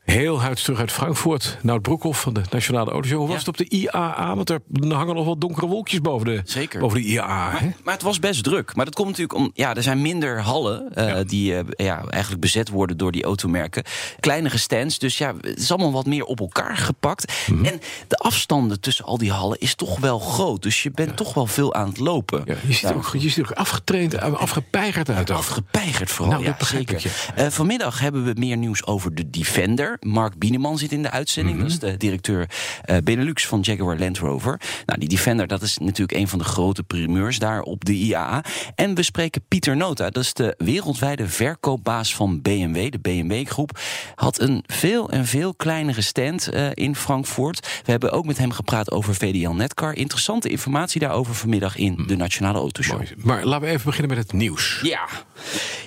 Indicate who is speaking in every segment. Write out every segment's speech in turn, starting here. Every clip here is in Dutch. Speaker 1: Heel huids terug uit Frankfurt. Nout Broekhoff van de Nationale Autoshow. Hoe was het op de IAA? Want er hangen nog wat donkere wolkjes boven de,
Speaker 2: Zeker.
Speaker 1: Boven de IAA. hè?
Speaker 2: Maar, maar het was best druk. Maar dat komt natuurlijk om. Ja, er zijn minder hallen eh, die eh, ja, eigenlijk bezet worden door die automerken. Kleinere stands. Dus ja, het is allemaal wat meer op elkaar gepakt.
Speaker 1: Mhm.
Speaker 2: En de afstanden tussen al die hallen is toch wel groot. Dus je bent toch wel veel aan het lopen.
Speaker 1: Ja, je, ziet er
Speaker 2: Nou,
Speaker 1: ook, je ziet er ook afgetraind, eh, afgepeigerd uit. ook.
Speaker 2: Afgepeigerd vooral.
Speaker 1: Nou, dat
Speaker 2: ja,
Speaker 1: begrijp
Speaker 2: zeker.
Speaker 1: ik,
Speaker 2: Eh, vanmiddag hebben we meer nieuws over de Defender. Mark Bieneman zit in de uitzending.
Speaker 1: Mhm.
Speaker 2: Dat is de directeur eh, Benelux van Jaguar Land Rover. Nou, die Defender, dat is natuurlijk een van de grote primeurs daar op de IAA. En we spreken Pieter Nota. Dat is de wereldwijde verkoopbaas van BMW. De BMW-groep had een veel en veel kleinere stand eh, in Frankfurt. We hebben ook met hem gepraat over VDL Netcar. Interessante informatie daarover vanmiddag in de Nationale Autoshow.
Speaker 1: Mhm. Mooi. Maar laten we even beginnen met het nieuws.
Speaker 2: Ja.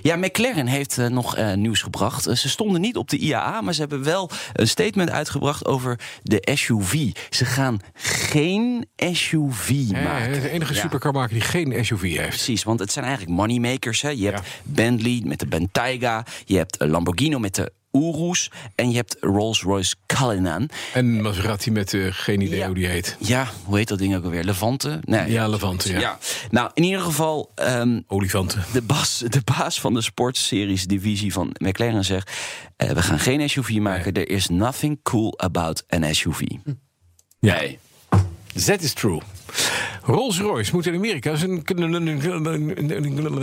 Speaker 2: ja, McLaren heeft eh, nog eh, nieuws gebracht. Eh, ze stonden niet op de IAA, maar ze hebben wel een statement uitgebracht over de SUV. Ze gaan geen SUV
Speaker 1: Hè,
Speaker 2: maken.
Speaker 1: de enige
Speaker 2: Ja.
Speaker 1: supercarmaker die geen SUV heeft.
Speaker 2: Precies, want het zijn eigenlijk moneymakers. Hè. Je hebt
Speaker 1: Ja.
Speaker 2: Bentley met de Bentayga, je hebt eh, Lamborghini met de Urus en je hebt Rolls-Royce Cullinan.
Speaker 1: En Maserati met eh, geen idee
Speaker 2: Ja.
Speaker 1: hoe die heet.
Speaker 2: Ja, hoe heet dat ding ook alweer? Levante? Nee.
Speaker 1: Ja, Levante, ja.
Speaker 2: Nou, in ieder geval, ehm,
Speaker 1: Olifanten.
Speaker 2: de, bas, de baas van de sportseries divisie van McLaren zegt... eh, we gaan geen SUV maken, er is nothing cool about an SUV.
Speaker 1: Ja. That is true. Rolls-Royce moet in Amerika zijn...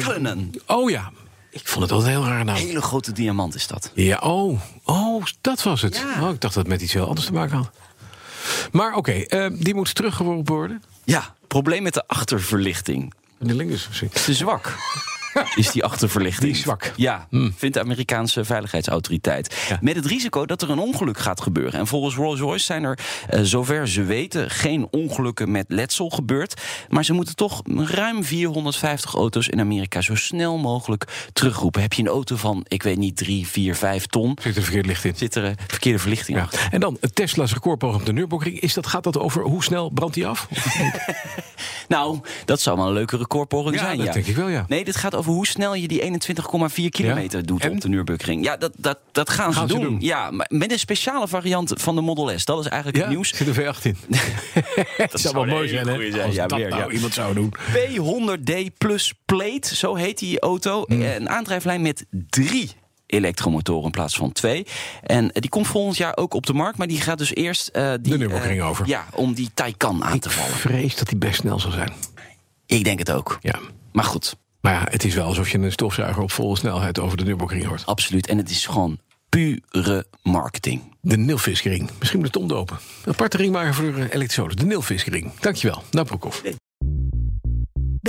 Speaker 2: Cullinan.
Speaker 1: Oh ja. Ik vond het altijd een heel raar naam.
Speaker 2: Hele grote diamant is dat.
Speaker 1: Ja, oh, oh, dat was het.
Speaker 2: Ja.
Speaker 1: Oh, ik dacht dat het met iets heel anders te maken had. Maar oké, eh, die moet teruggeworpen worden.
Speaker 2: Ja, probleem met de achterverlichting.
Speaker 1: De linkers misschien.
Speaker 2: Te zwak is die achterverlichting.
Speaker 1: Die is zwak. Hmm.
Speaker 2: Ja, vindt de Amerikaanse veiligheidsautoriteit.
Speaker 1: Ja.
Speaker 2: Met het risico dat er een ongeluk gaat gebeuren. En volgens Rolls-Royce zijn er, eh, zover ze weten, geen ongelukken met letsel gebeurd. Maar ze moeten toch ruim 450 auto's in Amerika zo snel mogelijk terugroepen. Heb je een auto van, ik weet niet, 3, 4, 5 ton?
Speaker 1: Zit er verkeerd licht in.
Speaker 2: Zit er eh, verkeerde verlichting
Speaker 1: Ja.
Speaker 2: aan?
Speaker 1: En dan het Tesla's recordpoging op de Nürburgring. Is dat, gaat dat over hoe snel brandt die af?
Speaker 2: Nou, dat zou wel een leuke recordpoging
Speaker 1: Ja,
Speaker 2: zijn.
Speaker 1: dat
Speaker 2: ja.
Speaker 1: denk ik wel, ja.
Speaker 2: Nee, dit gaat over hoe snel je die 21,4 kilometer
Speaker 1: Ja.
Speaker 2: doet
Speaker 1: En?
Speaker 2: op de Nürburgring. Ja, dat, dat, dat gaan,
Speaker 1: Gaan
Speaker 2: ze,
Speaker 1: ze
Speaker 2: doen.
Speaker 1: doen.
Speaker 2: Ja, maar met een speciale variant van de Model S. Dat is eigenlijk
Speaker 1: Ja,
Speaker 2: het nieuws.
Speaker 1: zit er V18. dat zou wel
Speaker 2: een
Speaker 1: mooi
Speaker 2: hele
Speaker 1: zijn, hè?
Speaker 2: goeie zijn.
Speaker 1: Als
Speaker 2: Ja,
Speaker 1: dat
Speaker 2: weer,
Speaker 1: nou
Speaker 2: ja.
Speaker 1: iemand zou doen.
Speaker 2: P100D Plus Plate, zo heet die auto.
Speaker 1: Hm.
Speaker 2: Eh, Een aandrijflijn met drie elektromotoren in plaats van twee. En eh, die komt volgend jaar ook op de markt, maar die gaat dus eerst... eh, die,
Speaker 1: De Nürburgring
Speaker 2: eh,
Speaker 1: over.
Speaker 2: Ja, om die Taycan aan te vallen.
Speaker 1: Vrees dat die best snel zal zijn.
Speaker 2: Ik denk het ook.
Speaker 1: Ja.
Speaker 2: Maar goed,
Speaker 1: Maar ja, het is wel alsof je een stofzuiger op volle snelheid over de Nürburgring hoort.
Speaker 2: absoluut. En het is gewoon pure marketing.
Speaker 1: De Nilvisring. Misschien moet het omdopen. Een aparte ring maken voor eh, elektroden. De Nilvisring. Dankjewel. Nou, Broekhoff.